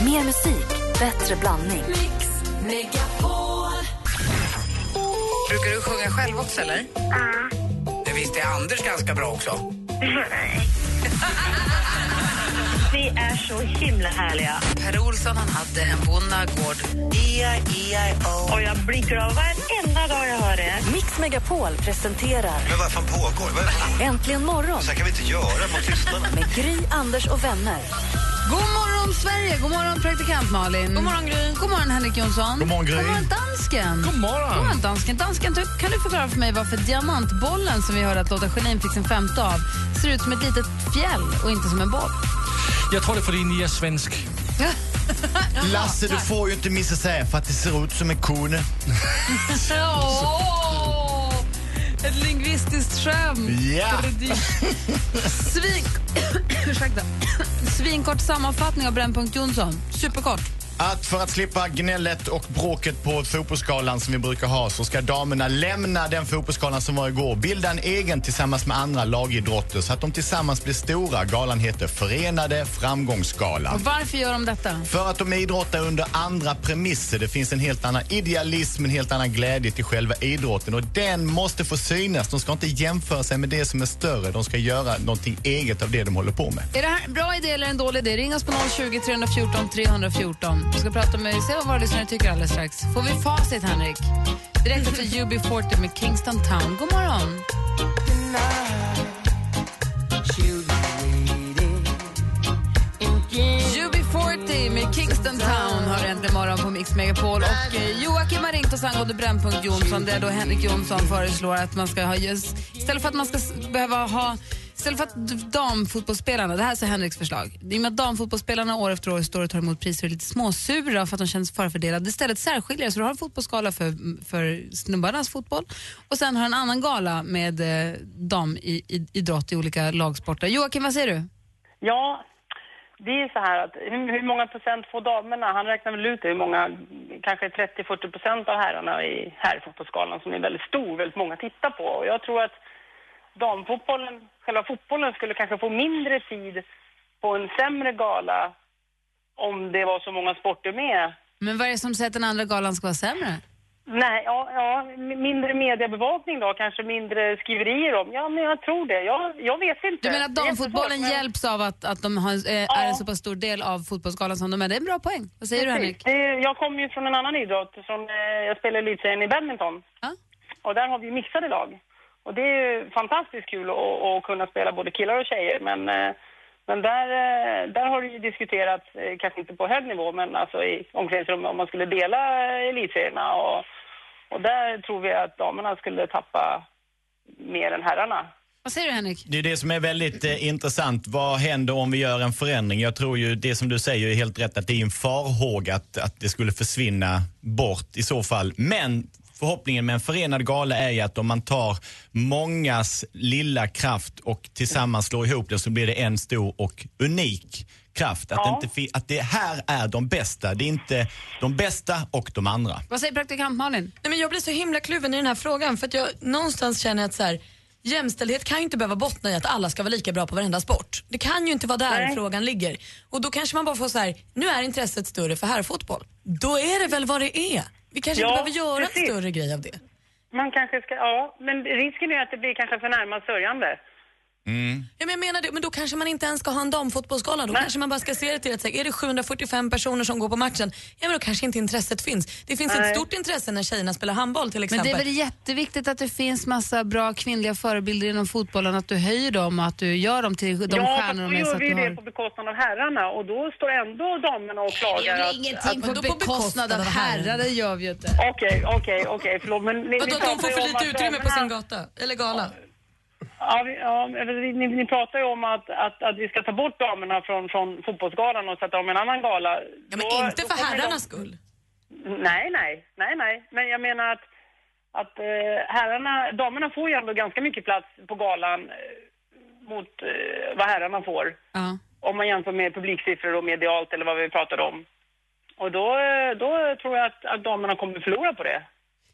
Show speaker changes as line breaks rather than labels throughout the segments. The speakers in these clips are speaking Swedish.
Mer musik, bättre blandning.
Mix Megapol.
Brukar du sjunga själv också eller? Ja. Visst är Anders ganska bra också?
Ni är så himla härliga.
Per Olsson han hade en bonnagård. E-I-E-I-O.
Och jag blir glad varenda dag jag hör er.
Mix Megapol presenterar
Men vad fan pågår? Vad
Äntligen morgon
så här kan vi inte göra mot lyssnarna.
med Gry, Anders och vänner.
God morgon Sverige, god morgon praktikant Malin. God morgon Gry. God morgon Henrik Jonsson. God
morgon, Gry.
God morgon dansken. God morgon. God morgon dansken. Dansken, du- kan du förklara för mig varför diamantbollen som vi hörde att Lotta Schelin fick sin femte av ser ut som ett litet fjäll och inte som en boll?
Jag tror det är för att ni är svensk.
Lasse, du får ju inte missa sig för att det ser ut som en kone.
Åh, Ett lingvistiskt skämt.
Ja!
Svin... Ursäkta. Svinkort sammanfattning av Brännpunkt Jonsson. Superkort.
Att för att slippa gnället och bråket på fotbollsskalan som vi brukar ha så ska damerna lämna den fotbollsskalan som var igår, bilda en egen tillsammans med andra lagidrotter så att de tillsammans blir stora. Galan heter Förenade
Och
framgångsskalan.
varför gör de detta?
För att de idrottar under andra premisser. Det finns en helt annan idealism, en helt annan glädje till själva idrotten och den måste få synas. De ska inte jämföra sig med det som är större. De ska göra någonting eget av det de håller på med.
Är det här en bra idé eller en dålig idé? Ring oss på 020 314 314. Vi ska prata med, se vad våra lyssnare tycker alldeles strax. Får vi facit, Henrik? Direkt efter UB40 med Kingston Town. God morgon! UB40 med Kingston Town har äntligen morgon på Mix Megapol. Och eh, Joakim har ringt oss angående Brännpunkt Jonsson där då Henrik Jonsson föreslår att man ska ha just, istället för att man ska s- behöva ha Istället för att d- damfotbollsspelarna, det här är så Henriks förslag, i och med att damfotbollsspelarna år efter år står och tar emot priser och är lite småsura för att de känns förfördelade, istället särskiljer så du har en fotbollsskala för, för snubbarnas fotboll och sen har en annan gala med eh, damidrott i, olika lagsporter. Joakim, vad säger du?
Ja, det är så här att hur hur många procent får damerna? Han räknar väl ut hur många, kanske 30-40 procent av herrarna i herrfotbollsskalan som är väldigt stor, väldigt många tittar på. Och jag tror att damfotbollen, själva fotbollen skulle kanske få mindre tid på en sämre gala om det var så många sporter med.
Men vad är det som säger att den andra galan ska vara sämre?
Nej, ja, ja, m- mindre mediebevakning då, kanske mindre skriverier om. Ja, men jag tror det. Jag, jag vet inte.
Du menar att
Det är jättesvårt,
damfotbollen
men-
hjälps av att, att de har, eh, är en så pass stor del av fotbollsskalan som de är? Det är en bra poäng. Vad säger du
Precis.
Henrik?
Det- Jag kommer ju från en annan idrott. Från, eh, jag spelar elitserien i badminton.
Ja?
Och där har vi mixade lag. Och det är ju fantastiskt kul att, att kunna spela både killar och tjejer. Men, eh, men där, eh, där har det ju diskuterats, eh, kanske inte på hög nivå, men alltså i omklädningsrummet om man skulle dela eh, elitserierna. Och, och där tror vi att damerna skulle tappa mer än herrarna.
Vad säger du Henrik?
Det är det som är väldigt eh, intressant. Vad händer om vi gör en förändring? Jag tror ju det som du säger är helt rätt att det är en farhåga att, att det skulle försvinna bort i så fall. Men förhoppningen med en förenad gala är ju att om man tar mångas lilla kraft och tillsammans slår ihop det så blir det en stor och unik kraft. Att,
Ja.
det, inte, fi- att det här är de bästa. Det är inte de bästa och de andra.
Vad säger praktikant Malin?
Nej, men jag blir så himla kluven i den här frågan för att jag någonstans känner att så här, jämställdhet kan ju inte behöva bottna i att alla ska vara lika bra på varenda sport. Det kan ju inte vara där
Nej.
frågan ligger. Och då kanske man bara får så här, nu är intresset större för herrfotboll. Då är det väl vad det är. Vi kanske
Ja,
inte behöver göra en
precis.
större grej av det.
Man kanske ska, ja, men risken är att det blir kanske för närmast sörjande.
Ja, men jag menar det, men då kanske man inte ens ska ha en damfotbollsgala. Då kanske man bara ska se det till att säga, är det 745 personer som går på matchen, ja men då kanske inte intresset finns. Det finns
Nej.
ett stort intresse när tjejerna spelar handboll till
Men
exempel.
det är väl jätteviktigt att det finns massa bra kvinnliga förebilder inom fotbollen, att du höjer dem och att du gör dem till de
ja, fast
stjärnor
då
de är. Så
gör
att
vi ju
du
det
har...
på bekostnad av herrarna och då står ändå damerna och klagar att... att-
Ingenting på bekostnad av herrar, det gör vi ju inte.
Okej, okej, okej, förlåt men... Ni,
Vadå,
ni
att de
pratar
får
ju
för
om
lite
att
utrymme på
damerna-
sin gata, eller gala?
Ja, vi, ja, eller vi- ni, ni pratar ju om att, att, att vi ska ta bort damerna från, från fotbollsgalan och sätta dem i en annan gala.
Ja, men
Då-
inte
då
för
kommer de-
herrarnas skull.
Nej, nej, nej, nej. Men jag menar att, att eh, herrarna, damerna får ju ändå ganska mycket plats på galan eh, mot eh, vad herrarna får.
Ja.
Om man jämför med publiksiffror och medialt eller vad vi pratade om. Och då, eh, då tror jag att, att damerna kommer förlora på det.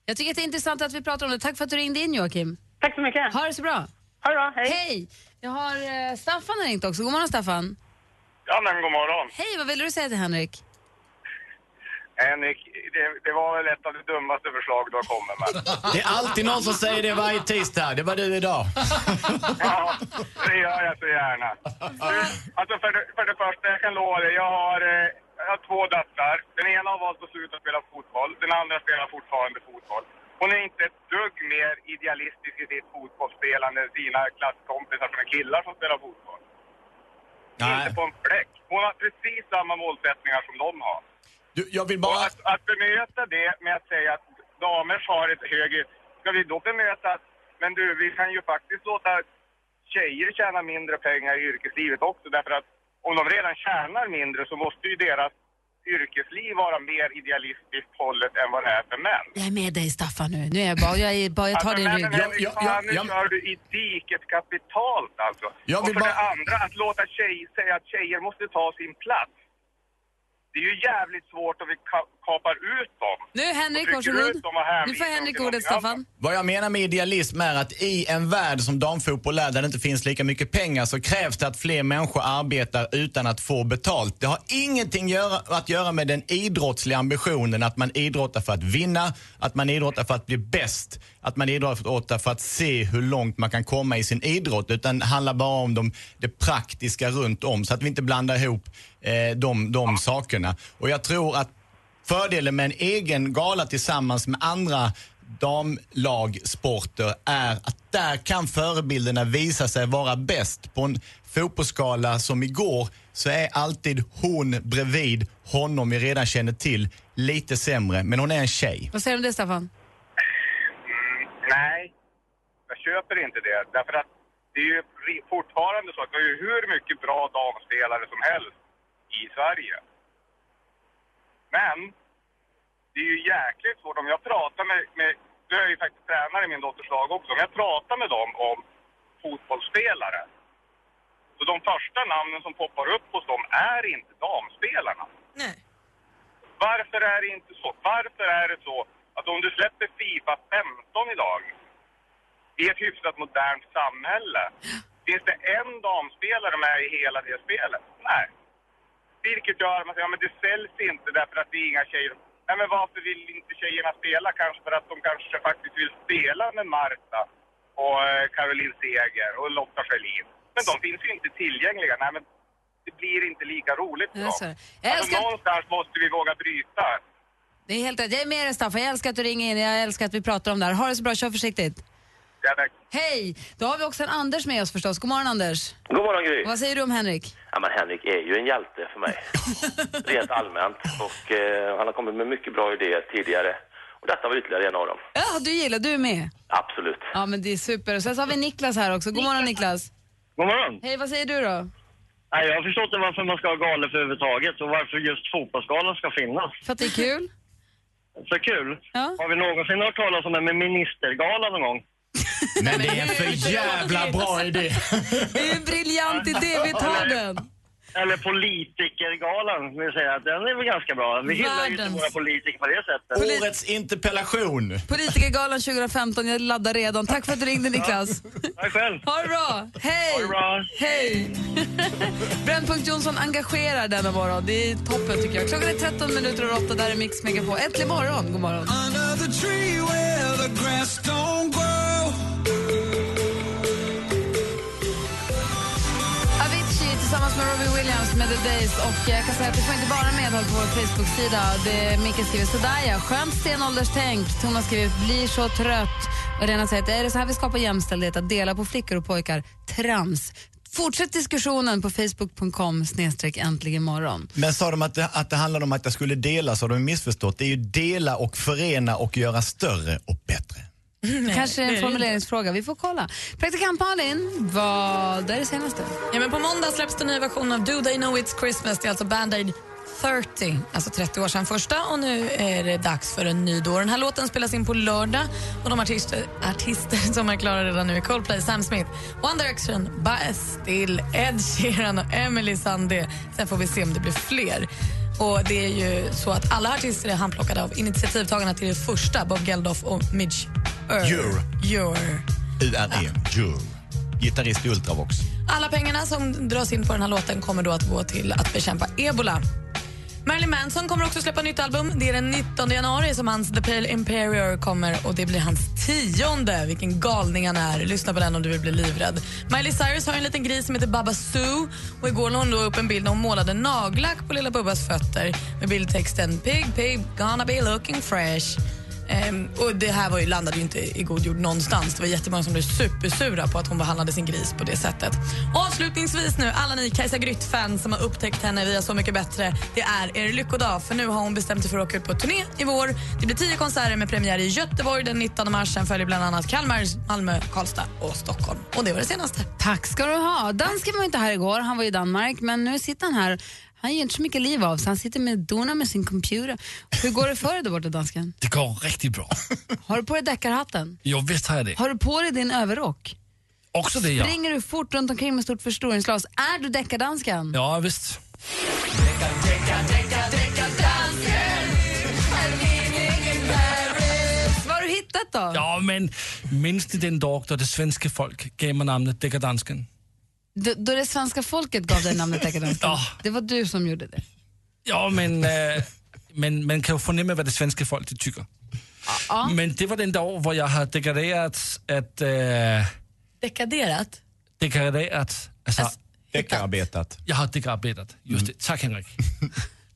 Jag tycker att det är intressant att vi pratar om det. Tack för att du ringde in Joakim.
Tack så mycket.
Ha det så bra.
Ha det bra, hej.
Hej! Jag har eh, Staffan har ringt också. God morgon Staffan.
Ja men god morgon.
Hej, vad ville du säga till Henrik?
Henrik, Eh, det, det var väl ett av de dummaste förslag du har kommit med.
Det är alltid någon som säger det varje tisdag. Det var du idag.
Ja, det gör jag så gärna. Du, alltså för, det- för det första, jag kan lova dig, jag har, eh, jag har två döttrar. Den ena har valt att sluta spela fotboll, den andra spelar fortfarande fotboll. Hon är inte ett dugg mer idealistisk i sitt fotbollsspelande än sina klasskompisar från killar som spelar fotboll.
Nej.
Inte på en fläck. Hon har precis samma målsättningar som de har.
Du, jag vill
Och
bara...
att, att bemöta det med att säga att damer har ett högre... Ska vi då bemöta att, men du, vi kan ju faktiskt låta tjejer tjäna mindre pengar i yrkeslivet också därför att om de redan tjänar mindre så måste ju deras yrkesliv vara mer idealistiskt hållet än vad det är för män.
Jag är med dig Staffan nu. Nu är jag bara, jag, är bara, jag tar din
Alltså, men,
rygg.
men, Henrik,
Ja, ja,
fan, nu
ja.
kör du i diket kapitalt alltså.
Jag
Och
vill
för det
bara-
andra, att låta tjejer säga att tjejer måste ta sin plats. Det är ju jävligt svårt om vi ka- kapar ut dem.
Nu Henrik,
Och trycker
varsågod.
ut dem och hänvisar
Nu får
dem
Henrik
till
ordet
någonting
Staffan.
Vad jag menar med idealism är att i en värld som damfotboll är, där det inte finns lika mycket pengar, så krävs det att fler människor arbetar utan att få betalt. Det har ingenting göra, att göra med den idrottsliga ambitionen att man idrottar för att vinna, att man idrottar för att bli bäst, att man idrottar för att se hur långt man kan komma i sin idrott, utan det handlar bara om de, det praktiska runt om, så att vi inte blandar ihop eh, de, de sakerna. Och jag tror att Fördelen med en egen gala tillsammans med andra damlagsporter är att där kan förebilderna visa sig vara bäst. På en fotbollsskala som igår så är alltid hon bredvid honom vi redan känner till lite sämre, men hon är en tjej.
Vad säger du om det Staffan?
Mm, nej, jag köper inte det. Därför att det är ju ri- fortfarande så att vi har ju hur mycket bra damspelare som helst i Sverige. Men det är ju jäkligt svårt. Om jag pratar med, med du är ju faktiskt tränare i min dotters lag också. Om jag pratar med dem om fotbollsspelare så de första namnen som poppar upp hos dem är inte damspelarna.
Nej.
Varför är det inte så? Varför är det så att om du släpper Fifa 15 idag i ett hyfsat modernt samhälle, finns det en damspelare med i hela det spelet? Nej. Vilket gör att man säger, ja men det säljs inte därför att det är inga tjejer. Nej men varför vill inte tjejerna spela? Kanske för att de kanske faktiskt vill spela med Marta och eh, Caroline Seger och Lotta Schelin. Men de finns ju inte tillgängliga. Nej men det blir inte lika roligt för
Jag
dem.
ser det. Jag
Alltså,
älskar-
någonstans måste vi våga bryta.
Det är helt rätt. Jag är med dig Staffan. Jag älskar att du ringer in. Jag älskar att vi pratar om det här. Ha det så bra, kör försiktigt.
Jag vet-
Hej! Då har vi också en Anders med oss förstås. God morgon Anders.
God morgon Gry.
Vad säger du om Henrik?
Ja, men Henrik är ju en hjälte för mig, rent allmänt. Och eh, han har kommit med mycket bra idéer tidigare. Och detta var ytterligare en av dem.
Ja, du gillar, du är med.
Absolut.
Ja, men det är super. Sen så har vi Niklas här också. God morgon Niklas.
God morgon.
Hej, vad säger du då?
Nej, jag har förstått inte varför man ska ha galor för överhuvudtaget och varför just fotbollsgalan ska finnas.
För att det är kul?
Så kul.
Ja.
Har vi någonsin hört talas om det med ministergala någon gång?
Men det är en för jävla bra idé.
Det är en briljant idé, vi tar den.
Eller politikergalan, vill säga. att Den är väl ganska bra. Vi hyllar ju inte
Världens.
våra politiker på det sättet.
Årets interpellation.
Politikergalan 2015, jag laddar redan. Tack för att du ringde Niklas.
Tack själv.
Ha det bra! Hej!
Ha det bra.
Hej! Brännpunkt Jonsson engagerar denna morgon. Det är toppen tycker jag. Klockan är 13 minuter över 8. Där är Mix Megapol. Äntligen morgon! God morgon. Avicii tillsammans med Robbie Williams med The Days. Och jag kan säga att du får inte bara medhåll på vår Facebook-sida. Det Micke skriver sådär ja, skönt stenålderstänk. Thomas skriver blir så trött. Och Lena säger att är det så här vi skapar jämställdhet? Att dela på flickor och pojkar? Trams. Fortsätt diskussionen på facebook.com snedstreck äntligen morgon.
Men sa de att det, att det handlade om att jag skulle dela så har de missförstått. Det är ju dela och förena och göra större och bättre.
Mm,
Kanske en formuleringsfråga. Vi får kolla. Praktikant Malin, vad är det senaste?
Ja, men på måndag släpps den nya versionen av Do They Know It's Christmas. Det är alltså Band-Aid 30, alltså 30 år sedan första och nu är det dags för en ny då. Den här låten spelas in på lördag och de artister, artister som är klara redan nu är Coldplay, Sam Smith, One Direction, Bass, Still, Ed Sheeran och Emily Sandé. Sen får vi se om det blir fler. Och det är ju så att alla artister är handplockade av initiativtagarna till det första, Bob Geldof och Midge Ure.
Ure.
Ure.
U-R-E, Jure. E. Gitarrist i Ultravox.
Alla pengarna som dras in på den här låten kommer då att gå till att bekämpa ebola. Marilyn Manson kommer också släppa nytt album. Det är den 19 januari som hans The Pale Imperior kommer och det blir hans tionde. Vilken galning han är. Lyssna på den om du vill bli livrädd. Miley Cyrus har en liten gris som heter Baba Sue och igår la hon då upp en bild när hon målade nagellack på lilla Bubbas fötter med bildtexten Pig pig gonna be looking fresh. Ehm, och det här var ju, landade ju inte i god jord någonstans. Det var jättemånga som blev supersura på att hon behandlade sin gris på det sättet. Avslutningsvis nu, alla ni Kajsa Grytt-fans som har upptäckt henne via Så mycket bättre. Det är er lyckodag, för nu har hon bestämt sig för att åka ut på turné i vår. Det blir tio konserter med premiär i Göteborg den 19 mars. Sen följer bland annat Kalmar, Malmö, Karlstad och Stockholm. Och det var det senaste.
Tack ska du ha. Dansken var inte här igår, han var i Danmark, men nu sitter han här. Han ger inte så mycket liv av sig, han sitter med dona med sin computer. Hur går det för dig där borta, dansken?
Det går riktigt bra.
Har du på dig deckarhatten?
Jo, visst har jag det.
Har du på dig din överrock?
Också det, ja.
Springer du fort runt omkring med stort förstoringsglas? Är du deckardansken?
Ja, visst.
Vad har du hittat då?
Ja, men minns du den dag då det svenska folk gav mig namnet Deckardansken?
D- då det svenska folket gav dig namnet deckardansken? Det var du som gjorde det.
Ja, men, eh, men man kan ju förnimma vad det svenska folket tycker.
ja.
Men det var den dag då jag hade deklarerat att... Eh,
Dekaderat?
deklarerat... Alltså,
Deckararbetat.
jag har deckararbetat. Just det. Tack Henrik.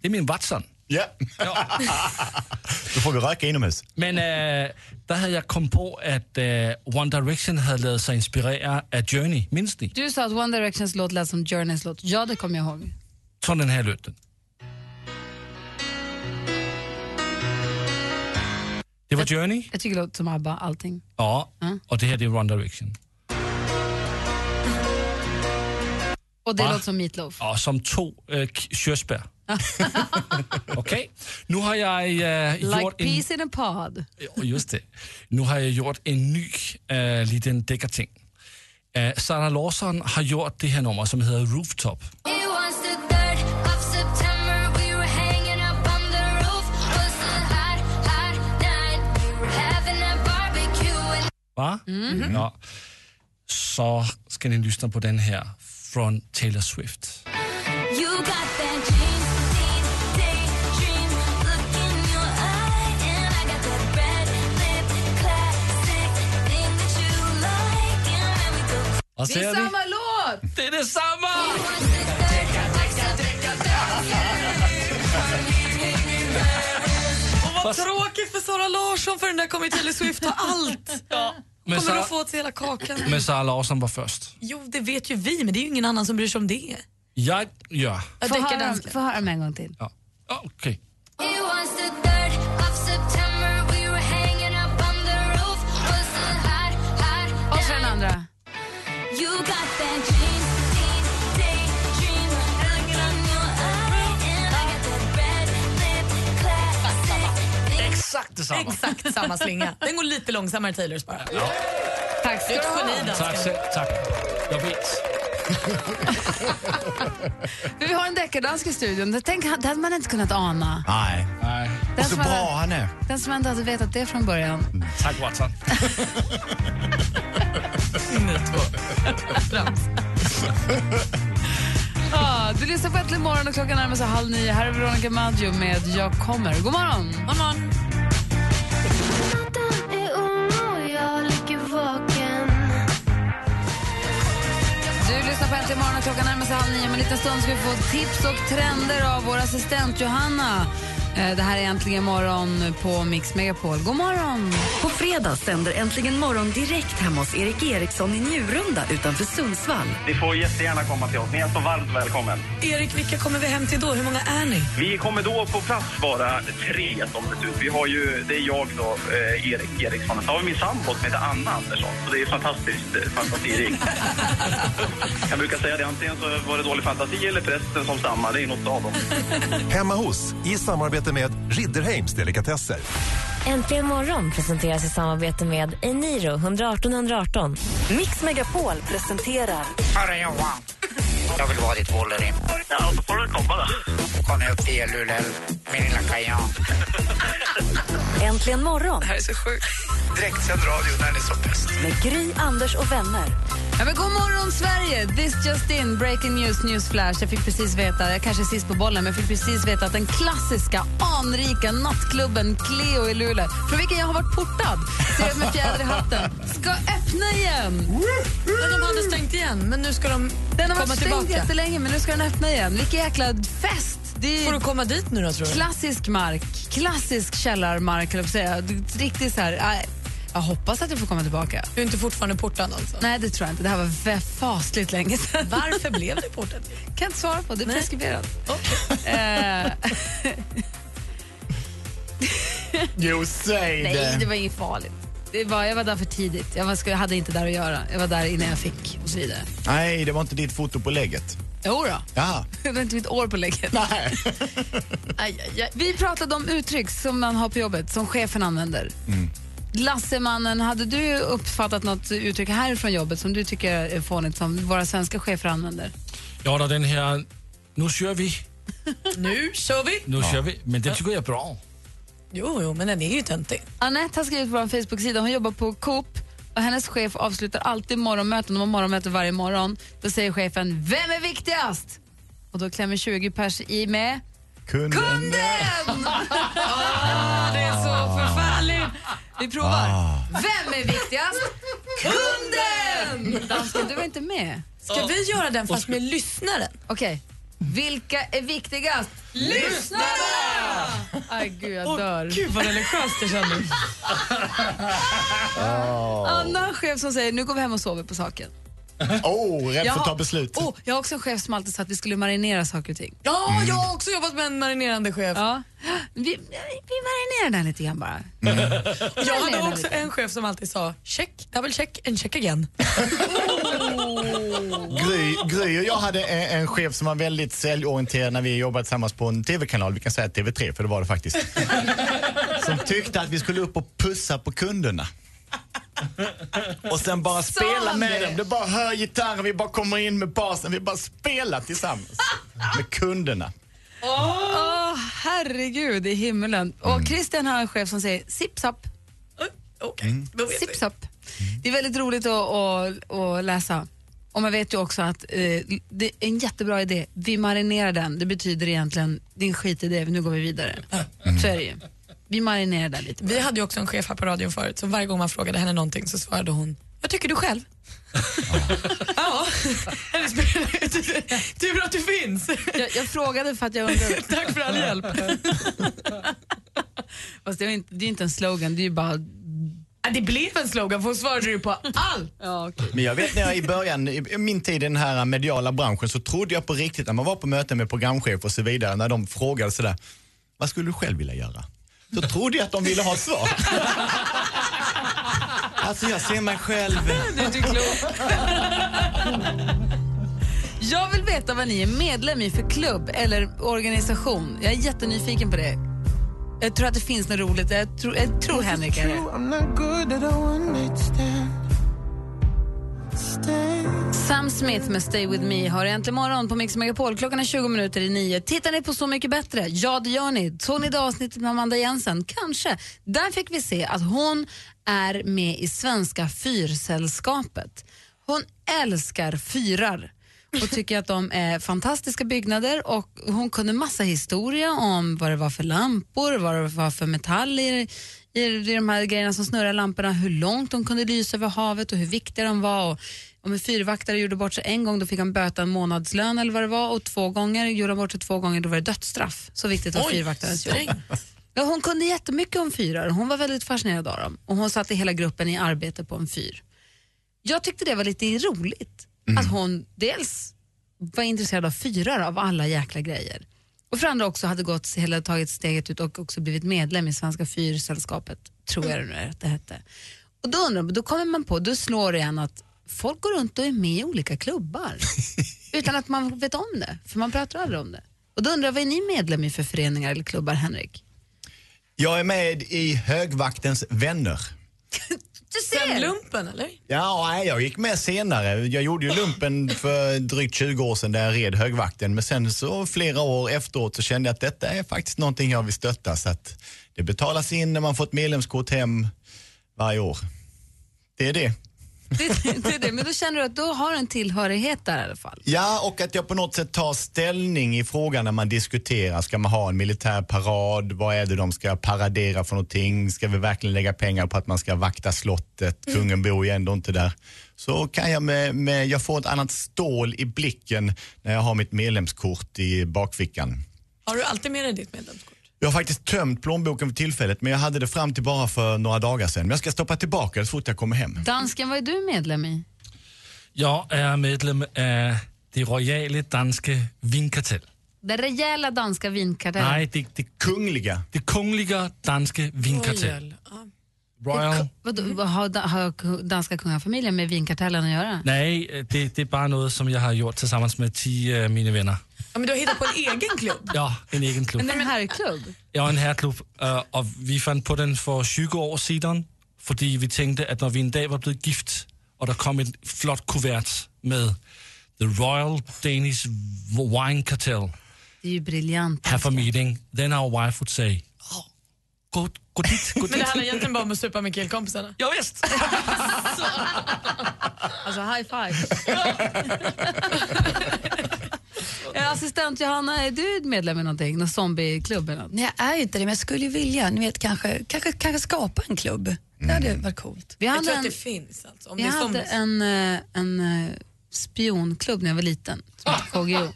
Det är min Watson.
Ja. Då får vi röka inomhus.
Men eh, där hade jag kommit på att eh, One Direction hade låtit sig inspirera av Journey. Minns ni?
Du sa att One Directions låt lät som Journeys låt. Ja, det kommer jag ihåg.
Så den här låten. Det var Journey.
Jag tycker det låter som ABBA, allting.
Ja,
Ja.
och det här det är One Direction.
Och det
Va?
låter som Meatloaf.
Ja, som två äh, körsbär. Okej, nu har jag eh,
Like
gjort en...
peas in a pod.
Ja, Just det. Nu har jag gjort en ny äh, liten deckarting. Äh, Sara Larsson har gjort det här numret som heter Rooftop. Va?
Mhm.
Ja. Så ska ni lyssna på den här från Taylor Swift. Och
Det är
ser ni?
samma låt!
Det är detsamma!
Och vad tråkigt för Sara Larsson för den där kommer ju Taylor Swift ha allt. Kommer
Men Sara,
att få åt sig hela kakan.
men Sara Larsson var först.
Jo, det vet ju vi, men det är ju ingen annan som bryr sig om det.
Jag gör...
Ja,
Få höra,
deckardansken.
få höra mig en gång till.
Ja. Ja, Okej.
Och så den andra.
Exakt detsamma.
Exakt samma slinga. Den går lite långsammare Taylors bara.
Tack ska
Du är
du
ett
ha.
geni
Tack,
dansken.
så- tack. Jag vet.
Vi har en deckardansk i studion. Det- Tänk, det hade man inte kunnat ana.
Nej.
Nej.
Den
Och så
som hade-
bra han är.
Den som ändå hade vetat det från början.
Tack Watson.
Ja, du lyssnar på Äntligen morgon och klockan närmar sig halv nio. Här är Veronica Maggio med Jag kommer. God morgon!
God morgon.
Du lyssnar på Äntligen morgon och klockan närmar sig halv nio. Om en liten stund ska vi få tips och trender av vår assistent Johanna. Eh, Det här är Äntligen morgon på Mix Megapol. God morgon!
På fredag sänder Äntligen morgon direkt hemma hos Erik E. Eriksson i Njurunda utanför Sundsvall.
Ni får jättegärna komma till oss. Ni är så varmt välkommen.
Erik, vilka kommer vi hem till då? Hur många är ni?
Vi kommer då på plats vara tre som det ser ut. Vi har ju, det är jag då, eh, Erik Eriksson. Sen har vi min sambo som heter Anna Andersson. Så det är fantastiskt eh, fantasirikt. jag brukar säga det, antingen så var det dålig fantasi eller prästen som stammade. Det är något av dem.
Hemma hos, i samarbete med Ridderheims Delikatesser.
Äntligen morgon presenteras i samarbete med Eniro 118 118.
Mix Megapol presenterar
Hörru Johan, jag vill vara ditt Wolverine.
Ja, då får du komma då.
Kom upp till Luleå, min lilla kajan.
Äntligen morgon
Det här är så sjukt.
Direktsänd radio när ni är som bäst.
med Gry, Anders och vänner.
Ja, men god morgon, Sverige! This just in, breaking news, newsflash. Jag fick precis veta, jag kanske är sist på bollen, men jag fick precis veta att den klassiska, anrika nattklubben Cleo i Luleå, från vilken jag har varit portad, ser jag med fjäder i hatten, ska öppna igen!
Men de hade stängt igen, men nu ska de
Den
komma
har varit stängd
tillbaka.
jättelänge, men nu ska den öppna igen. Vilken jäkla fest! Det är
Får du komma dit nu då, tror du?
klassisk mark, klassisk källarmark, eller säga. Riktigt så här... äh, Jag hoppas att jag får komma tillbaka.
Du är inte fortfarande portad alltså?
Nej, det tror jag inte. Det här var vä- fasligt länge sedan.
Varför blev du portad?
kan inte svara på. Det är
Nej.
preskriberat. Eh,
Jo, säg
nej, det var inget farligt. Det var, jag var där för tidigt. Jag, var, skulle- hade inte där att göra. Jag var där innan jag fick och så vidare.
Nej, det var inte ditt foto på lägget.
Jo då.
Ja.
Det var inte mitt år på lägget.
Nej.
Vi pratade om uttryck som man har på jobbet, som chefen använder.
Mm.
Lassemannen, hade du uppfattat något uttryck härifrån jobbet som du tycker är fånigt som våra svenska chefer använder?
Ja, då den här, nu kör vi,
Nu kör vi!
nu kör vi. Men det tycker jag är bra.
Jo, jo, men den är ju töntig.
Annette har skrivit på vår Facebook-sida, hon jobbar på Coop och hennes chef avslutar alltid morgonmöten, de har morgonmöte varje morgon. Då säger chefen, vem är viktigast? Och då klämmer 20 pers i med
Kunden.
kunden! Ah, det är så förfärligt! Vi provar.
Ah.
Vem är viktigast? Kunden! Dansken, du var inte med.
Ska vi göra den fast med lyssnaren?
Okej. Vilka är viktigast? Lyssnarna! Aj, gud, jag dör.
Gud vad religiöst det kändes.
Annan chef som säger nu går vi hem och sover på saken.
Åh, rädd för att ta beslut.
Oh, jag har också en chef som alltid sa att vi skulle marinera saker och ting. Mm.
Ja, jag har också jobbat med en marinerande chef.
Ja. Vi, vi marinerar den här lite grann bara.
Jag hade
Marinerar
också
lite.
en chef som alltid sa check, double check, and check again.
Gry, Gry och jag hade en, en chef som var väldigt säljorienterad när vi jobbade tillsammans på en tv-kanal. Vi kan säga TV3, för det var det faktiskt. Som tyckte att vi skulle upp och pussa på kunderna. Och sen bara spela
han
med
det?
dem. Det bara hör gitarren, vi bara kommer in med basen. Vi bara spelar tillsammans med kunderna.
Åh, herregud i himmelen.
Mm.
Och Christian har en chef som säger sipp-sapp,
Okej,
Mm.
då vet vi.
sipp-sapp. Det är väldigt roligt att, att, att läsa. Och man vet ju också att eh, det är en jättebra idé. Vi marinerar den. Det betyder egentligen din skitidé, nu går vi vidare.
Mm.
Så är det ju. Vi marinerar den lite.
Vi hade ju också en chef här på radion förut, så varje gång man frågade henne någonting så svarade hon Vad tycker du själv? ja, eller spelar ut- tur att du finns.
Jag, jag frågade för att jag undrade.
Tack för all hjälp.
Fast det är ju inte, det är inte en slogan, det är ju bara...
Ja, Det blev en slogan för hon svarade ju på allt.
Ja, okej.
Men jag vet när jag i början, i i min tid i den här mediala branschen, så trodde jag på riktigt när man var på möten med programchefer och så vidare, när de frågade sådär, vad skulle du själv vilja göra? Så trodde jag att de ville ha ett svar. Alltså jag ser mig själv.
Du är inte klok. Jag vill veta vad ni är medlem i för klubb eller organisation. Jag är jättenyfiken på det. Jag tror att det finns något roligt. Jag tror, jag tror Henrik är det. Sam Smith med Stay With Me har äntligen morgon på Mix Megapol. Klockan är 20 minuter i nio. Tittar ni på Så mycket bättre? Ja, det gör ni. Såg ni det avsnittet med Amanda Jensen? Kanske. Där fick vi se att hon är med i Svenska Fyrsällskapet. Hon älskar fyrar och tycker att de är fantastiska byggnader och hon kunde massa historia om vad det var för lampor, vad det var för metaller i, i de här grejerna som snurrar lamporna, hur långt de kunde lysa över havet och hur viktiga de var. Och om en fyrvaktare gjorde bort sig en gång då fick han böta en månadslön eller vad det var och två gånger gjorde han bort sig två gånger då var det dödsstraff. Så viktigt var fyrvaktarens jobb. Ja, hon kunde jättemycket om fyrar hon var väldigt fascinerad av dem och hon satte hela gruppen i arbete på en fyr. Jag tyckte det var lite roligt att hon dels var intresserad av fyrar av alla jäkla grejer och för andra också hade gått hela tagit steget ut och också blivit medlem i Svenska Fyrsällskapet, tror jag det nu är att det hette. Och då undrar man, då kommer man på, då slår det en att folk går runt och är med i olika klubbar utan att man vet om det, för man pratar aldrig om det. Och då undrar jag, vad är ni medlem i för föreningar eller klubbar, Henrik?
Jag är med i Högvaktens vänner.
Du
Den lumpen eller?
Ja, nej, jag gick med senare. Jag gjorde ju lumpen för drygt 20 år sedan där jag red högvakten. Men sen så flera år efteråt så kände jag att detta är faktiskt någonting jag vill stötta. Så att det betalas in när man får ett medlemskort hem varje år. Det är det.
Det, det är det. Men då känner du att då har du en tillhörighet där i alla fall.
Ja, och att jag på något sätt tar ställning i frågan när man diskuterar, ska man ha en militär parad? Vad är det de ska paradera för någonting? Ska vi verkligen lägga pengar på att man ska vakta slottet?
Mm.
Kungen bor ju ändå inte där. Så kan jag med, med, jag får ett annat stål i blicken när jag har mitt medlemskort i bakfickan.
Har du alltid med dig ditt medlemskort?
Jag har faktiskt tömt plånboken för tillfället men jag hade det fram till bara för några dagar sedan. Men jag ska stoppa tillbaka det så fort jag kommer hem.
Dansken, vad är du medlem i?
Jag är medlem av det royale danska vinkartell.
Den rejäla danska vinkartellen.
Nej, det, det
kungliga.
Det kungliga danska vinkartell. Royal.
Vadå, vad har, da- har danska kungafamiljen med vinkartellen att göra?
Nej, eh, det, det är bara något som jag har gjort tillsammans med tio av mina vänner.
Ja, men du har hittat på en egen klubb.
Ja, en egen klubb.
En herrklubb?
Jag är en herrklubb, eh, och vi fann på den för 20 år sedan, för vi tänkte att när vi en dag var blivit gift och det kom ett flott kuvert med The Royal Danish Wine Cartel
Det är ju briljant.
have a meeting, then our wife would say, "Åh, gå, gå dit, gå
Men det
dit.
handlar egentligen bara om att supa med killkompisarna.
Ja, visst.
Alltså high five. Eh, Assistent Johanna, är du medlem i någonting? Någon zombieklubb eller något?
Nej, jag är ju inte det, men jag skulle ju vilja. Ni vet, kanske, kanske, kanske skapa en klubb. Det hade varit coolt.
Vi hade en-
finns alltså.
Vi hade en, eh, en eh, spionklubb när jag var liten, som hette KGO.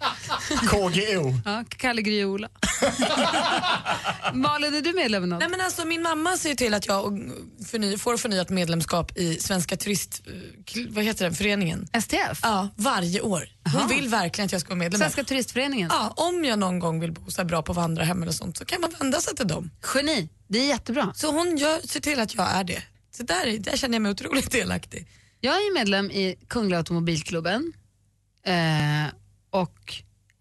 KGO?
Ja, Kalle Gry och Ola. Malin, är du medlem i något?
Nej, men alltså, min mamma ser ju till att jag och- förny, får förnyat medlemskap i Svenska turist... eh, kl- Vad heter den? Föreningen?
STF?
Ja, varje år. Hon vill verkligen att jag ska vara medlem.
Svenska turistföreningen?
Ja, om jag någon gång vill bo så här bra på vandrarhem eller sånt så kan man vända sig till dem.
Geni, det är jättebra.
Så hon gör, ser till att jag är det. Så där, är- där känner jag mig otroligt delaktig.
Jag är medlem i Kungliga Automobilklubben eh, och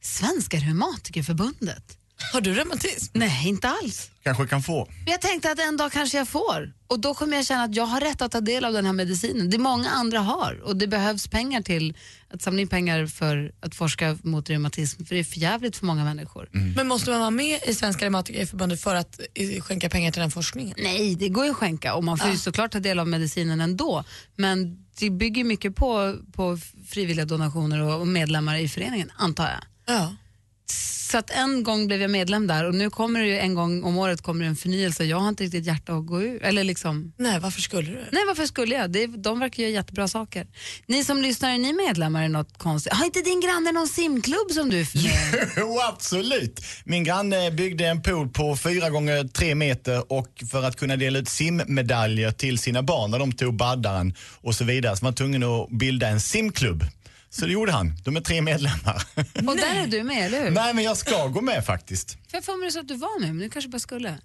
Svenska Reumatikerförbundet.
Har du reumatism?
Nej, inte alls.
Kanske kan få.
Men jag tänkte att en dag kanske jag får och då kommer jag känna att jag har rätt att ta del av den här medicinen. Det många andra har och det behövs pengar till att samla in pengar för att forska mot reumatism för det är för jävligt för många människor.
Mm.
Men måste man vara med i Svenska Reumatikerförbundet för att eh, skänka pengar till den forskningen?
Nej, det går ju att skänka och man får ju såklart ta del av medicinen ändå. Men det bygger ju mycket på, på frivilliga donationer och, och medlemmar i föreningen, antar jag.
Ja.
Så att en gång blev jag medlem där och nu kommer det ju en gång om året kommer det en förnyelse. Jag har inte riktigt hjärta att gå ur. Eller liksom,
Nej, varför skulle du?
nej varför skulle jag? Det, de verkar göra jättebra saker. Ni som lyssnar, är ni medlemmar i något konstigt? Har inte din granne någon simklubb som du är med i?
Jo, absolut. Min granne byggde en pool på fyra gånger tre meter och för att kunna dela ut simmedaljer till sina barn när de tog baddaren och så vidare så var han tvungen att bilda en simklubb. Så det gjorde han. De är tre medlemmar.
Och där är du med, eller hur?
Nej, men jag ska gå med faktiskt.
För jag får mig det så att du var med, men du kanske bara skulle.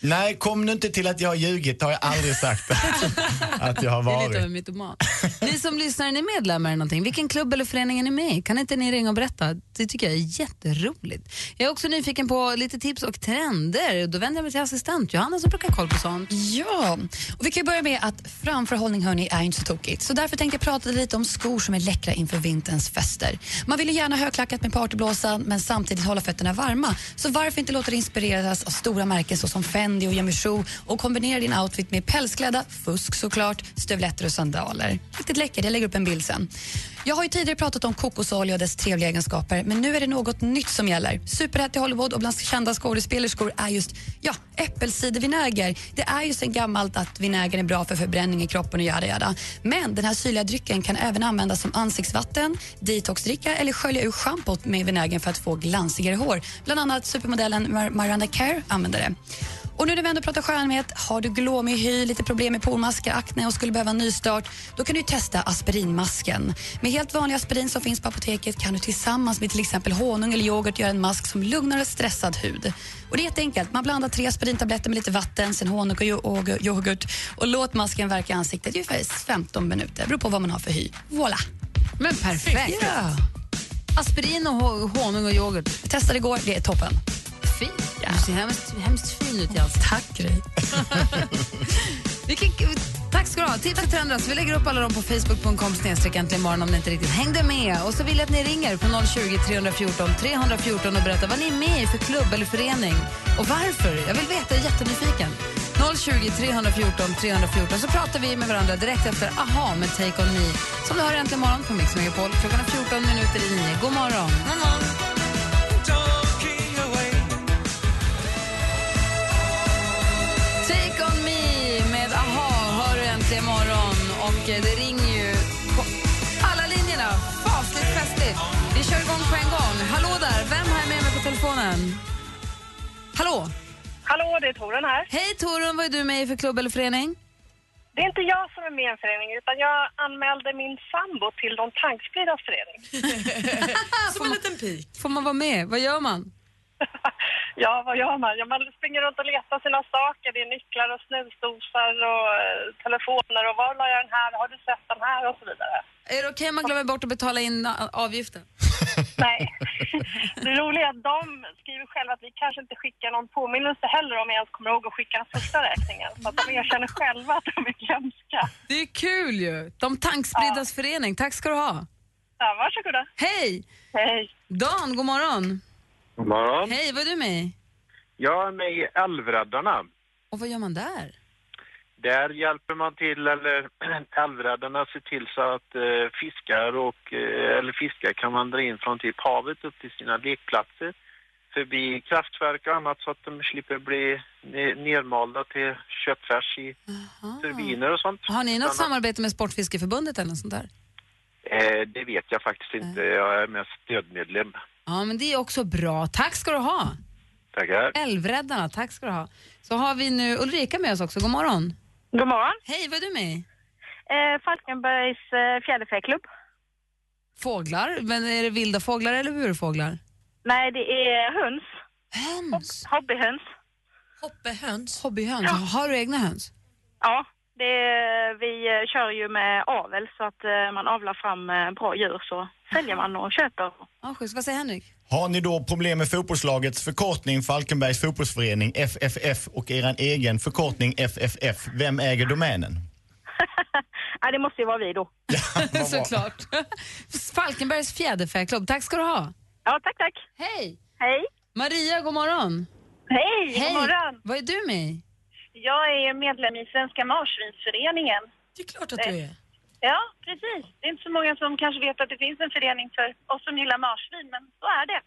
Nej, kom nu inte till att jag har ljugit. Det har jag aldrig sagt att jag har
Det är lite av
varit.
en mytoman. Ni som lyssnar, är ni medlemmar i någonting? Vilken klubb eller förening är ni med i? Kan inte ni ringa och berätta? Det tycker jag är jätteroligt. Jag är också nyfiken på lite tips och trender. Då vänder jag mig till assistent Johanna som brukar ha koll på sånt.
Ja, och vi kan ju börja med att framförhållning hörni, är inte så tokigt. Så därför tänkte jag prata lite om skor som är läckra inför vinterns fester. Man vill ju gärna ha högklackat med partyblåsan men samtidigt hålla fötterna varma. Så varför inte låta dig inspireras av stora märken såsom Fendi och Jimmy Choo och kombinera din outfit med pälsklädda, fusk såklart, stövletter och sandaler. Riktigt läckert, jag lägger upp en bild sen. Jag har ju tidigare pratat om kokosolja och dess trevliga egenskaper men nu är det något nytt som gäller. Superhett i Hollywood och bland kända skådespelerskor är just ja, äppelcidervinäger. Det är ju sen gammalt att vinägern är bra för förbränning i kroppen och yada yada. Men den här syrliga drycken kan även användas som ansiktsvatten, detoxdricka eller skölja ur schampot med vinägern för att få glansigare hår. Bland annat supermodellen Mar- Miranda Kerr använder det. Och nu när vi ändå pratar skönhet, har du glåmig hy, lite problem med pormaskar, akne och skulle behöva en nystart, då kan du ju testa aspirinmasken. Med helt vanlig aspirin som finns på apoteket kan du tillsammans med till exempel honung eller yoghurt göra en mask som lugnar och stressad hud. Och det är jätteenkelt. Man blandar tre aspirintabletter med lite vatten, sen honung och yo- och yoghurt och låt masken verka i ansiktet i ungefär 15 minuter. Beror på vad man har för hy. Voilà!
Men perfekt.
Ja.
Aspirin och ho- honung och yoghurt.
Jag testade igår, det är toppen.
Fint. Du ser hemskt, hemskt fin ut, Jens.
Tack, Gry.
Vilken, tack ska du ha. Tips och trender. Så vi lägger upp alla dem på facebook.com snedstreck äntligen morgon om ni inte riktigt hängde med. Och så vill jag att ni ringer på 020 314 314 och berättar vad ni är med i för klubb eller förening och varför. Jag vill veta, jag är jättenyfiken. 020 314 314 så pratar vi med varandra direkt efter Aha med Take On Me som du har äntligen morgon på Mix Megapol. Klockan är 14 minuter i 9. God morgon! God morgon. Take On Me med Aha hör du äntligen morgon och eh, det ringer ju på alla linjerna. Fasligt festligt. Vi kör igång på en gång. Hallå där, vem har jag med mig på telefonen? Hallå?
Hallå, det är Torun här.
Hej Torun, vad är du med i för klubb eller förening?
Det är inte jag som är med i en förening, utan jag anmälde min sambo till de tankspridas förening.
Som en liten pik. Får man vara med? Vad gör man?
Ja, vad gör man? Ja, man springer runt och letar sina saker. Det är nycklar och snusdosor och eh, telefoner och var la jag den här? Har du sett den här? Och så vidare.
Är det okej om man glömmer bort att betala in a- avgiften?
Nej. Det roliga är att de skriver själva att vi kanske inte skickar någon påminnelse heller om jag ens kommer ihåg att skicka den första räkningen. Så att de erkänner själva att de är glömska.
Det är kul ju! De tankspridas förening, tack ska du ha.
Ja, varsågoda.
Hej!
Hej!
Dan, god morgon.
God morgon.
Hej, vad är du med i?
Jag är med i Älvräddarna.
Och vad gör man där?
Där hjälper man till, eller älvräddarna ser till så att eh, fiskar och, eh, eller fiskar kan vandra in från typ havet upp till sina lekplatser förbi kraftverk och annat så att de slipper bli ne- nermalda till köttfärs i turbiner och sånt.
Har ni något
Utan att-
samarbete med Sportfiskeförbundet eller något sånt där?
Eh, det vet jag faktiskt inte. Jag är mest stödmedlem.
Ja, men det är också bra. Tack ska du ha.
Tackar.
Älvräddarna, tack ska du ha. Så har vi nu Ulrika med oss också, god morgon.
God morgon.
Hej, vad är du med i?
Eh, Falkenbergs eh, fjäderfäklubb.
Fåglar, men är det vilda fåglar eller burfåglar?
Nej, det är höns.
Höns?
Hobbyhöns.
Hoppehöns?
Hobbyhöns. Har du egna höns?
Ja, det, är- vi eh, kör ju med avel så att eh, man avlar fram eh, bra djur så säljer man och köper.
Ja, schysst. Vad säger Henrik?
Har ni då problem med fotbollslagets förkortning Falkenbergs fotbollsförening FFF och er egen förkortning FFF, vem äger domänen?
Nej, det måste ju vara vi då.
Såklart. Falkenbergs fjäderfäklubb, tack ska du ha.
Ja, tack, tack.
Hej!
Hej!
Maria, god morgon.
Hej, god morgon.
Vad är du med i?
Jag är medlem i Svenska Marsvinsföreningen. Eh,
Det är klart att du är.
Ja, precis. Det är inte så många som kanske vet att det finns en förening för oss som gillar marsvin, men så är det.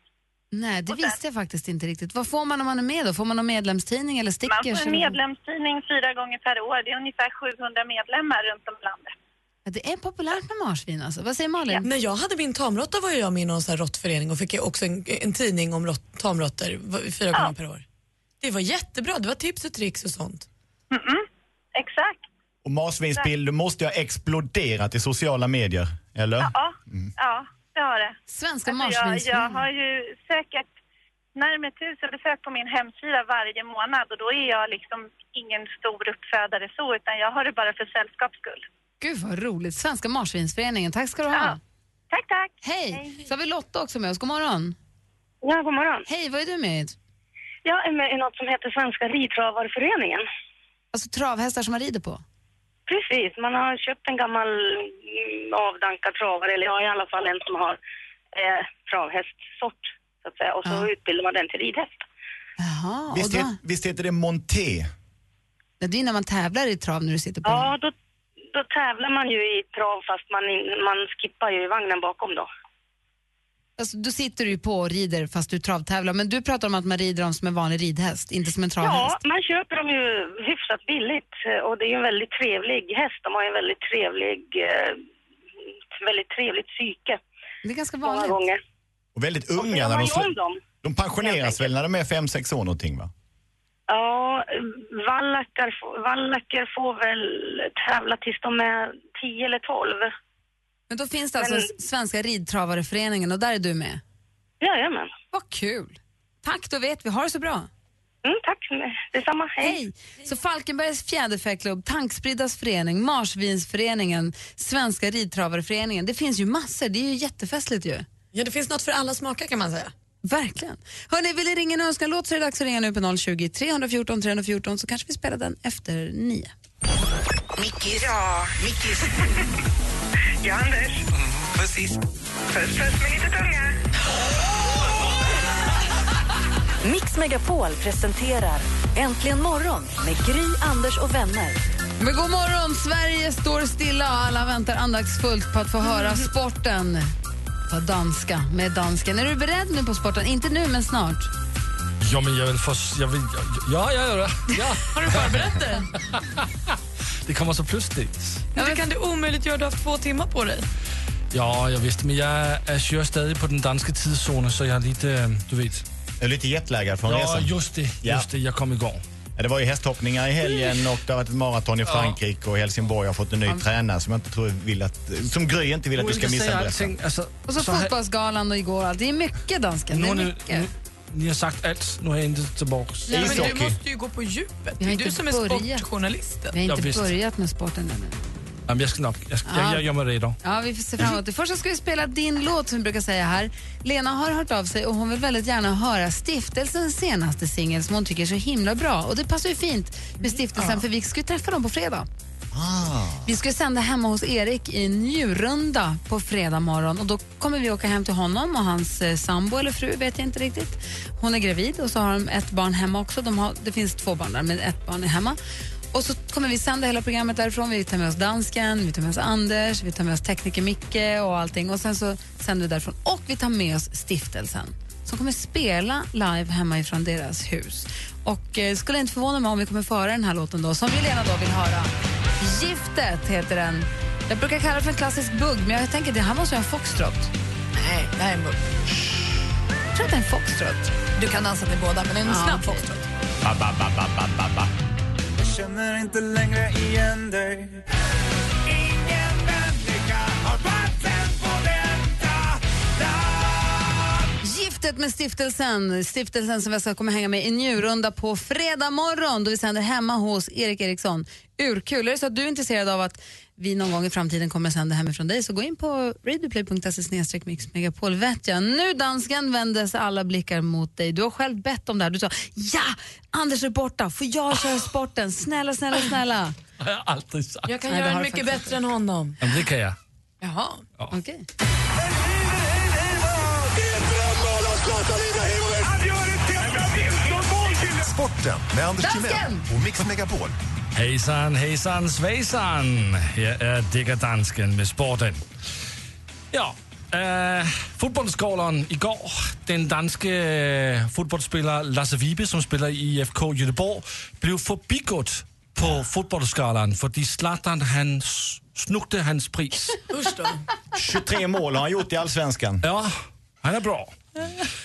Nej, det visste jag faktiskt inte riktigt. Vad får man om man är med då? Får man någon medlemstidning eller stickers?
Man får en
eller-
medlemstidning fyra gånger per år. Det är ungefär 700 medlemmar runt om i landet.
Ja, Det är populärt med marsvin alltså. Vad säger Malin?
När jag hade min tamråtta var ju jag med i någon sån här råttförening och fick ju också en, en tidning om rått, tamråttor v- fyra gånger per år. Det var jättebra, det var tips och tricks och sånt.
Exakt.
Och marsvinsbild måste ju ha exploderat i sociala medier, eller?
Ja, ja det har det. Alltså,
Svenska
jag, jag
marsvinsföreningen.
har ju säkert närmare tusen besök på min hemsida varje månad och då är jag liksom ingen stor uppfödare så, utan jag har det bara för sällskaps skull.
Gud vad roligt. Svenska Marsvinsföreningen, tack ska du ha.
Tack, tack.
Hej. Så har vi Lotta också med oss, god morgon.
Ja, god morgon.
Hej, vad är du med i?
Jag är med i något som heter Svenska ridtravarföreningen.
Alltså travhästar som man rider på?
Precis, man har köpt en gammal mm, avdankad travare, eller jag har i alla fall en som har eh, travhästsort, så att säga. Och så utbildar man den till ridhäst.
Jaha, och
Visst,
då,
het, visst heter det monté?
Ja, det är när man tävlar i trav när du sitter på
Ja, då, då tävlar man ju i trav fast man, in, man skippar ju i vagnen bakom då.
Alltså, då sitter du ju på och rider fast du travtävlar. Men du pratar om att man rider dem som en vanlig ridhäst, inte som en travhäst.
Ja, man köper dem ju hyfsat billigt eh, och det är ju en väldigt trevlig häst. De har ju en väldigt trevlig, eh, väldigt trevligt psyke.
Det är ganska
vanligt. Många gånger.
Och väldigt unga
gör
när
man
de,
ju om
slu-
dem.
de pensioneras väl när de är fem sex år någonting va?
Ja, vallacker, får- vallacker får väl tävla tills de är 10 eller 12.
Men då finns det alltså
Men-
Svenska ridtravareföreningen och där är du med?
Jajamän.
Vad kul. Tack, då vet vi. Ha det så bra.
Mm, tack detsamma. Hej.
Hej. Så Falkenbergs fjäderfäklubb, Tankspridas förening, Marsvinsföreningen, Svenska ridtravareföreningen. Det finns ju massor. Det är ju jättefestligt ju.
Ja, det finns något för alla smaker kan man säga.
Verkligen. Hörni, vill ni ringa en önskan-låt så är det dags att ringa nu på 020 314 314 så kanske vi spelar den efter nio.
Mickis. Ja, Mickis.
Ja, Anders. Precis. Puss, puss med lite tunga.
Mix Megapol presenterar Äntligen morgon med Gry, Anders och vänner.
Men god morgon! Sverige står stilla och alla väntar andaktsfullt på att få höra
Mm.
sporten. Ta danska med dansken. Är du beredd nu på sporten? Inte nu, men snart.
Jo, men jag vill först... Jag vill, ja, ja, ja, ja.
Har du förberett dig?
Det kommer så plötsligt.
Men det kan du omöjligt göra, du har haft två timmar på dig.
Ja, jag visste, men jag är kör stadig på den danska tidszonen så jag är lite, eh, du vet.
Jag är lite jetlaggad från
ja,
resan.
just det. Just
Ja.
det, jag kom igång.
Ja, Det var ju hästhoppningar i helgen och det har varit ett maraton i Frankrike och Helsingborg har fått en ny
Ja.
tränare som jag inte tror vill att... Som Gry inte vill att du ska missa. berätta.
alltså,
Och så,
så här-
fotbollsgalan och igår. och allt. Det är mycket dansken.
Nu
Det
har
är
ni,
mycket.
nu, ni har sagt allt, nu har jag inte tillbaka.
Nej, men du måste ju gå på djupet. Det är
inte
du som är
börjat.
sportjournalisten.
Vi har
Ja,
inte
visst.
börjat med sporten ännu.
Jamen, jag ska nog... Jag, ska,
Ja.
jag, jag gör mig redo.
Ja, vi får se fram emot det. Först så ska vi spela din låt som vi brukar säga här. Lena har hört av sig och hon vill väldigt gärna höra stiftelsens senaste singel som hon tycker är så himla bra. Och det passar ju fint med stiftelsen för vi ska ju träffa dem på fredag. Vi ska ju sända hemma hos Erik i Njurunda på fredag morgon och då kommer vi åka hem till honom och hans eh, sambo eller fru, vet jag inte riktigt. Hon är gravid och så har de ett barn hemma också. De har, det finns två barn där, men ett barn är hemma. Och så kommer vi sända hela programmet därifrån. Vi tar med oss dansken, vi tar med oss Anders, vi tar med oss tekniker Micke och allting. Och sen så sänder vi därifrån och vi tar med oss stiftelsen som kommer spela live hemma ifrån deras hus. Och eh, skulle inte förvåna mig om vi kommer föra den här låten då, som vi Lena då vill höra. Giftet heter den. Jag brukar kalla det för en klassisk bugg, men jag tänker det här måste vara en foxtrot.
Nej, det här är en bugg.
Jag tror att det är en foxtrot.
Du kan dansa till båda, men en
Ja,
snabb
okej.
foxtrot.
Ba, ba, ba, ba, ba, ba, ba.
Jag känner inte längre igen dig Ingen människa har patent på detta
Giftet med stiftelsen, stiftelsen som jag ska komma hänga med i Njurunda på fredag morgon då vi sänder hemma hos Erik Eriksson. Urkul! Är det så att du är intresserad av att vi någon gång i framtiden kommer sända hemifrån dig så gå in på radioplay.se snedstreck mix megapol vet jag. Nu dansken vändes alla blickar mot dig. Du har själv bett om det här. Du sa ja, Anders är borta, får jag köra sporten? Snälla, snälla, snälla.
Jag har aldrig sagt.
Jag kan
Nej, det
göra
har
den
du
mycket
faktiskt
bättre än honom.
Jamen, det kan jag.
Jaha.
Okej.
Sporten med Anders
Dansken!
Timell och Mix Megapol.
Hejsan, hejsan, svejsan. Her er Digger Dansken med sporten. Ja, øh, fodboldskåleren i går. Den danske øh, fodboldspiller Lasse Vibe, som spiller i IFK Göteborg, blev forbigået på fodboldskalaen, fordi Zlatan, han s- snugte hans pris.
Usch då.
23 mål har han gjort i Allsvenskan.
Ja, han är bra.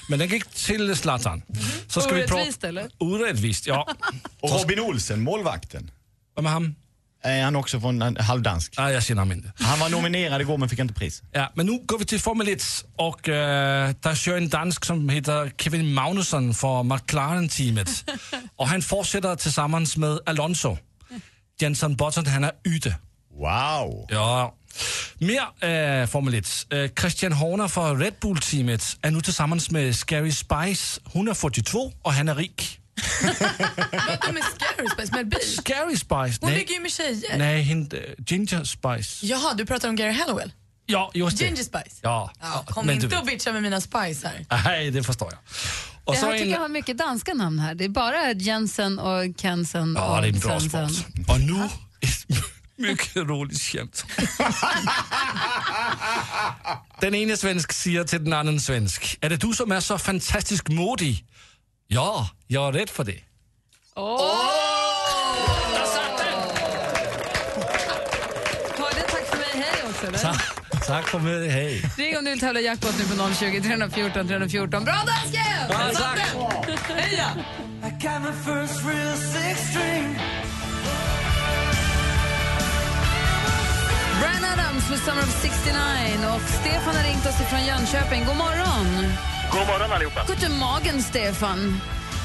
Men den gick till Zlatan. Så ska vi prata-
Orättvist, eller?
Orättvist, ja.
Och Robin Olsen, målvakten.
Vad med han?
Är han också från en halvdansk?
Nej, jag känner honom inte.
Han var nominerad igår men fick inte pris.
Ja, men nu går vi till Formel 1 och eh, där kör en dansk som heter Kevin Magnusson för McLaren-teamet. och han fortsätter tillsammans med Alonso. Jenson Button, han är ute.
Wow!
Ja. Mer eh, Formel 1. Eh, Christian Horner från Red Bull-teamet är nu tillsammans med Scary Spice. Hon är 42 och han är rik.
Vadå med Scary Spice? Med bil?
Scary Spice?
Hon
nej.
ligger ju med tjejer.
Nej, hende, øh, Ginger Spice.
Jaha, du pratar om Gary Hallowell?
Ja, just det.
Ginger Spice?
Ja.
Ja, kom
men du
inte
vet.
och bitcha med mina spice här.
Nej, det förstår jag. Och
det
så
här
en-
tycker jag har mycket danska namn här. Det är bara Jensen och Kensen
Ja,
och
det är en bra
Sensen.
sport. Och nu ett mycket roligt skämt. Den ene svensk säger till den andra svensk, är det du som är så fantastiskt modig? Ja, jag är rädd för det.
Hörde tack för mig, hej också. Eller?
Tack för mig, hej.
Ring om du vill tävla i jackpot nu på 020 314 314. Bra dansken!
Ja, tack.
Heja!
I got my first real six string
Brian Adams med Summer of 69 och Stefan har ringt oss ifrån Jönköping. God morgon!
God morgon allihopa.
Guten Morgen, Stefan.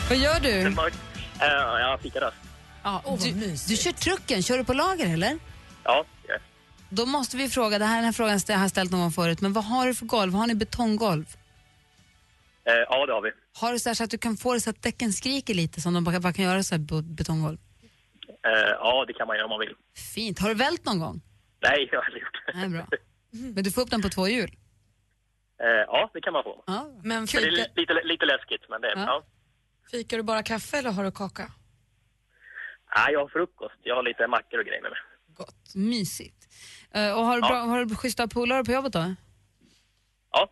Vad gör du?
Eh, jag fick det.
Ja, du, du kör trucken. Kör du på lager, eller?
Ja. ja.
Då måste vi fråga, det här, den här frågan stä- har jag ställt någon gång förut, men vad har du för golv? Har ni betonggolv?
Eh, ja, det har vi.
Har du så, här så att du kan få det så att däcken skriker lite som de bara, bara kan göra så här på betonggolv?
Eh, ja, det kan man göra om man vill.
Fint. Har du vält någon gång?
Nej, jag har aldrig gjort det.
Nej, bra. Men du får upp den på två hjul?
Eh, ja, det kan man få.
Ja. Men
det är li- lite, lite läskigt, men det är... Ja.
Fikar du bara kaffe eller har du kaka?
Nej, jag har frukost. Jag har lite mackor och grejer med mig.
Mysigt. Eh, och har du,
Ja.
bra, har du schyssta polare på jobbet då?
Ja.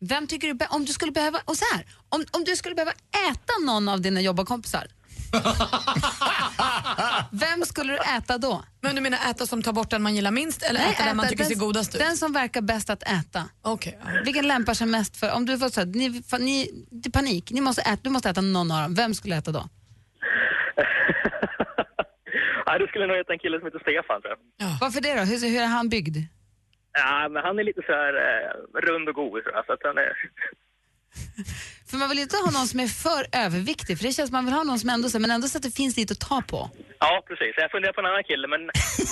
Vem tycker du, be- om du skulle behöva, och så här, om, om du skulle behöva äta någon av dina jobbarkompisar, vem skulle du äta då?
Men du menar äta som tar bort den man gillar minst eller
Nej,
äta den man tycker
den-
ser godast ut?
Den som verkar bäst att äta.
Okej.
Vilken lämpar sig mest för, om du får så här, ni, fa- ni, det är panik, ni måste äta, du måste äta någon av dem, vem skulle äta då?
Nej, du skulle nog heta en kille som heter Stefan, tror jag.
Varför det då? Hur, hur är han byggd?
Ja, men han är lite så här eh, rund och god, tror jag. Så att han är...
För man vill ju inte ha någon som är för överviktig, för det känns man vill ha någon som ändå, så- men ändå så att det finns lite att ta på.
Ja, precis. Jag funderar på en annan kille, men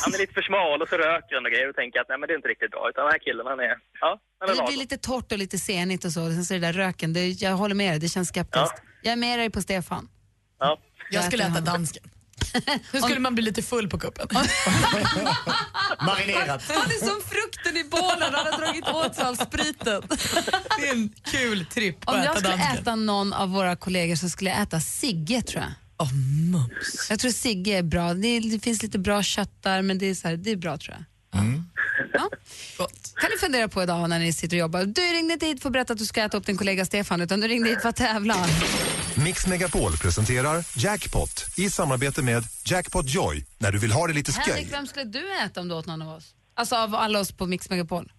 han är lite för smal och så röker han och grejer och tänker att nej, men det är inte riktigt bra. Utan den här killen, han är... Ja, han är
Det blir
lagom.
lite torrt och lite senigt och så, och sen så är det där röken, det, jag håller med dig, det känns skeptiskt. Jag är med dig på Stefan.
Ja.
Jag skulle äta dansken. Nu skulle man bli lite full på kuppen. Marinerat.
Han är som frukten i bålen, han har dragit åt sig all spriten.
Det är en kul tripp
Om
att
jag
äta
skulle
dansken.
äta någon av våra kollegor så skulle jag äta Sigge tror jag.
Oh, mums.
Jag tror Sigge är bra, det, är, det finns lite bra kött där men det är, så här, det är bra tror jag. kan ni fundera på idag när ni sitter och jobbar. Du ringde inte hit för att berätta att du ska äta upp din kollega Stefan utan du ringde hit för att tävla.
Mix Megapol presenterar Jackpot i samarbete med Jackpot Joy när du vill ha det lite skoj.
Henrik, vem skulle du äta om du åt någon av oss? Alltså av alla oss på Mix Megapol.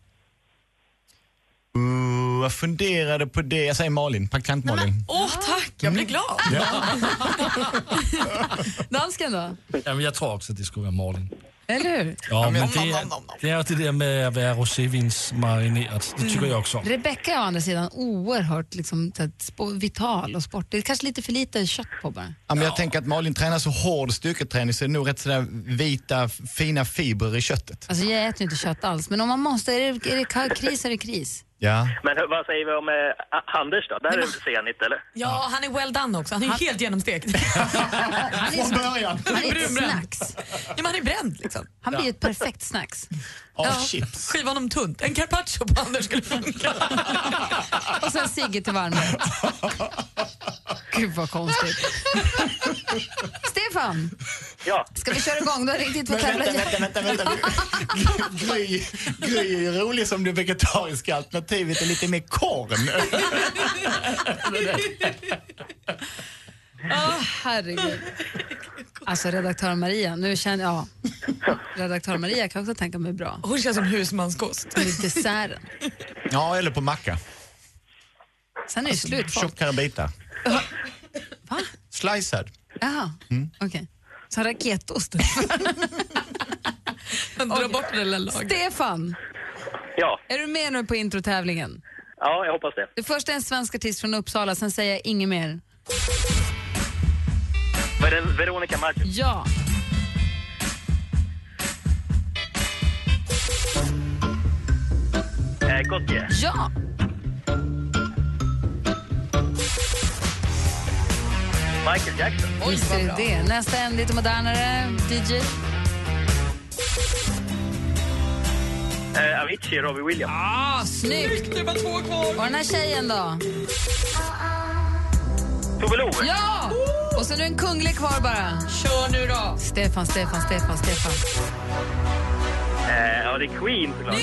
Uh, jag funderade på det. Jag säger Malin, praktikant Malin.
Åh, tack! Jag blir glad.
Mm.
Dansken då?
Jamen, jag tror också att det skulle vara Malin.
Eller hur?
Ja, men det är, det är ju det där med att vara rosévinsmarinerad.
Mm.
Det tycker jag också om.
Rebecca är å andra sidan oerhört liksom, så här, spo- vital och sportig. Kanske lite för lite kött på bara.
Ja, men jag tänker att Malin tränar så hård styrketräning så det är nog rätt sådär vita, fina fibrer i köttet.
Alltså jag äter ju inte kött alls, men om man måste, är det, är det ka- kris är det kris.
Ja.
Men hur- vad säger vi om eh, A- Anders då? Där är det senigt, eller?
Ja, han är well done också. Han är ju helt genomstekt.
Han är som- början. han är ett snacks.
Ja, men han är bränd liksom.
Han blir ju ett perfekt snacks.
Ja, Skiva honom tunt. En carpaccio på Anders skulle funka.
Och sen Sigge till varmrätt. Gud vad konstigt. Stefan,
Ja.
ska vi köra igång? Du har riktigt fått tävla.
Men vänta, vänta, vänta, vänta. Gry, gry är ju rolig som det vegetariska alternativet är lite mer korn.
Åh, herregud. Alltså redaktör Maria, nu känner jag... Redaktör Maria kan jag också tänka mig bra.
Hon känns som husmanskost.
Med desserten.
Ja, eller på macka.
Sen är
Alltså,
det slut. folk.
Tjockare bitar. Slicead.
Jaha, okej. Så raketost.
Dra bort det lilla lagret.
Stefan,
Ja,
är du med nu på introtävlingen?
ja jag hoppas det.
Det första är en svensk artist från Uppsala, sen säger jag inget mer.
Vad är det? Veronica Maggio?
Ja.
Eh, Gautier?
Ja.
Michael Jackson?
Visst är det det. Nästa är en lite modernare DJ.
Eh, Avicii? Robbie Williams?
Ah, snyggt!
Det var två kvar.
Och den här tjejen då?
Tove Lo?
Ja! Och sen är det en kunglig kvar bara.
Kör nu då!
Stefan, Stefan, Stefan, Stefan.
Eh, ja, det är Queen såklart.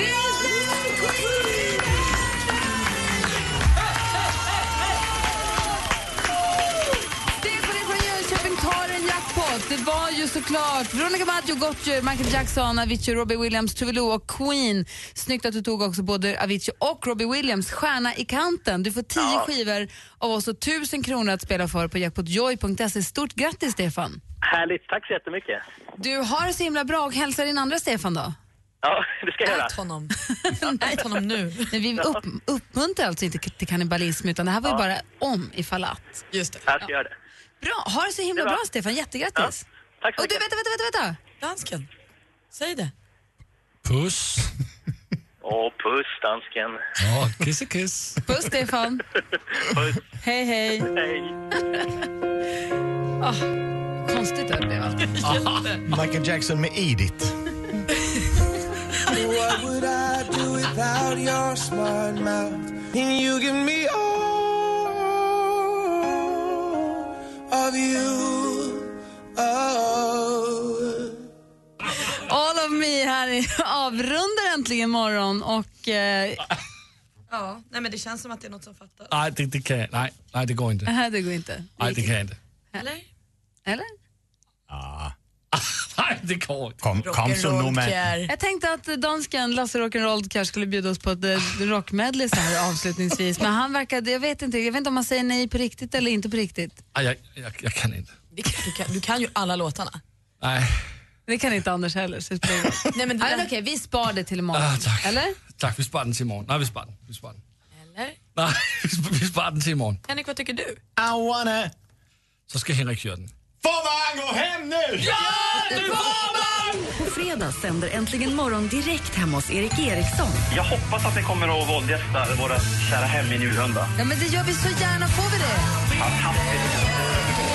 Stefan är från Jönköping tar en jackpot. Det var ju såklart Veronica Maggio, Gottlieb, Michael Jackson, Avicii, Robbie Williams, Tove Lo och Queen. Snyggt att du tog också både Avicii och Robbie Williams, stjärna i kanten. Du får tio
Ja.
skivor av oss och tusen kronor att spela för på jackpotjoy.se. Stort grattis Stefan!
Härligt, tack så jättemycket.
Du har det så himla bra och hälsa din andra Stefan då.
Ja, det ska jag göra.
Ät honom. Ät honom nu.
Men vi upp, uppmuntrar alltså inte till kannibalism utan det här var ju
Ja.
bara om ifall att.
Just det.
Jag ska göra det.
Bra, ha det så himla
Det är
bra
bra.
Stefan, jättegrattis!
Tack så
Och du,
mycket.
vänta, vänta, vänta, vänta!
Dansken, säg det.
Puss.
Åh, puss dansken.
Ja, kiss och kiss.
Puss Stefan!
Puss.
Hej, hej!
Hej.
Ah, konstigt det här blev alltid.
Michael Jackson med Edith.
What would I do without your smart mouth? And you give me all you. Oh.
All of me här i- avrundar äntligen morgon och eh,
Ja, nej men det känns som att det är något som fattas.
Nej, det, det kan jag. Nej, nej, det går inte.
nej, det går inte.
Nej, det kan jag inte.
Eller?
Eller?
Nej, det går inte.
Kom, kom så nu man.
Jag tänkte att dansken Lasse Rock'n'Roll kanske skulle bjuda oss på ett eh, rockmedley så här avslutningsvis. Men han verkade, jag vet inte, jag vet inte om han säger nej på riktigt eller inte på riktigt.
Nej, jag, jag, jag kan inte.
Du kan, du kan ju alla låtarna.
Nej,
Det kan inte Anders heller. Så det spelar ingen roll. nej, men det, okej, vi spar det till imorgon.
Ah, tack.
Eller?
tack. Vi sparar den till imorgon. Nej, vi sparar den. Vi sparar den.
Eller?
Nej, vi sp- vi sparar den till imorgon.
Henrik, vad tycker du?
I wanna...
Så ska Henrik göra den.
Får man gå hem nu? Ja,
du får man! På fredag sänder Äntligen morgon direkt hemma hos Erik Eriksson.
Jag hoppas att ni kommer att våldgästa våra kära hem i Njurunda.
Ja, men det gör vi så gärna, får vi det?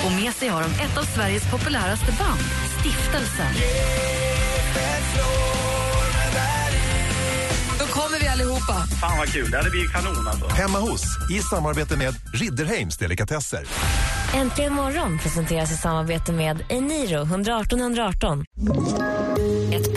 Och med sig har de ett av Sveriges populäraste band, Stiftelsen.
Då kommer vi allihopa.
Fan vad kul, det hade blivit kanon alltså.
Hemma hos, i samarbete med Ridderheims Delikatesser.
Äntligen morgon presenteras i samarbete med Eniro 118 118. Ett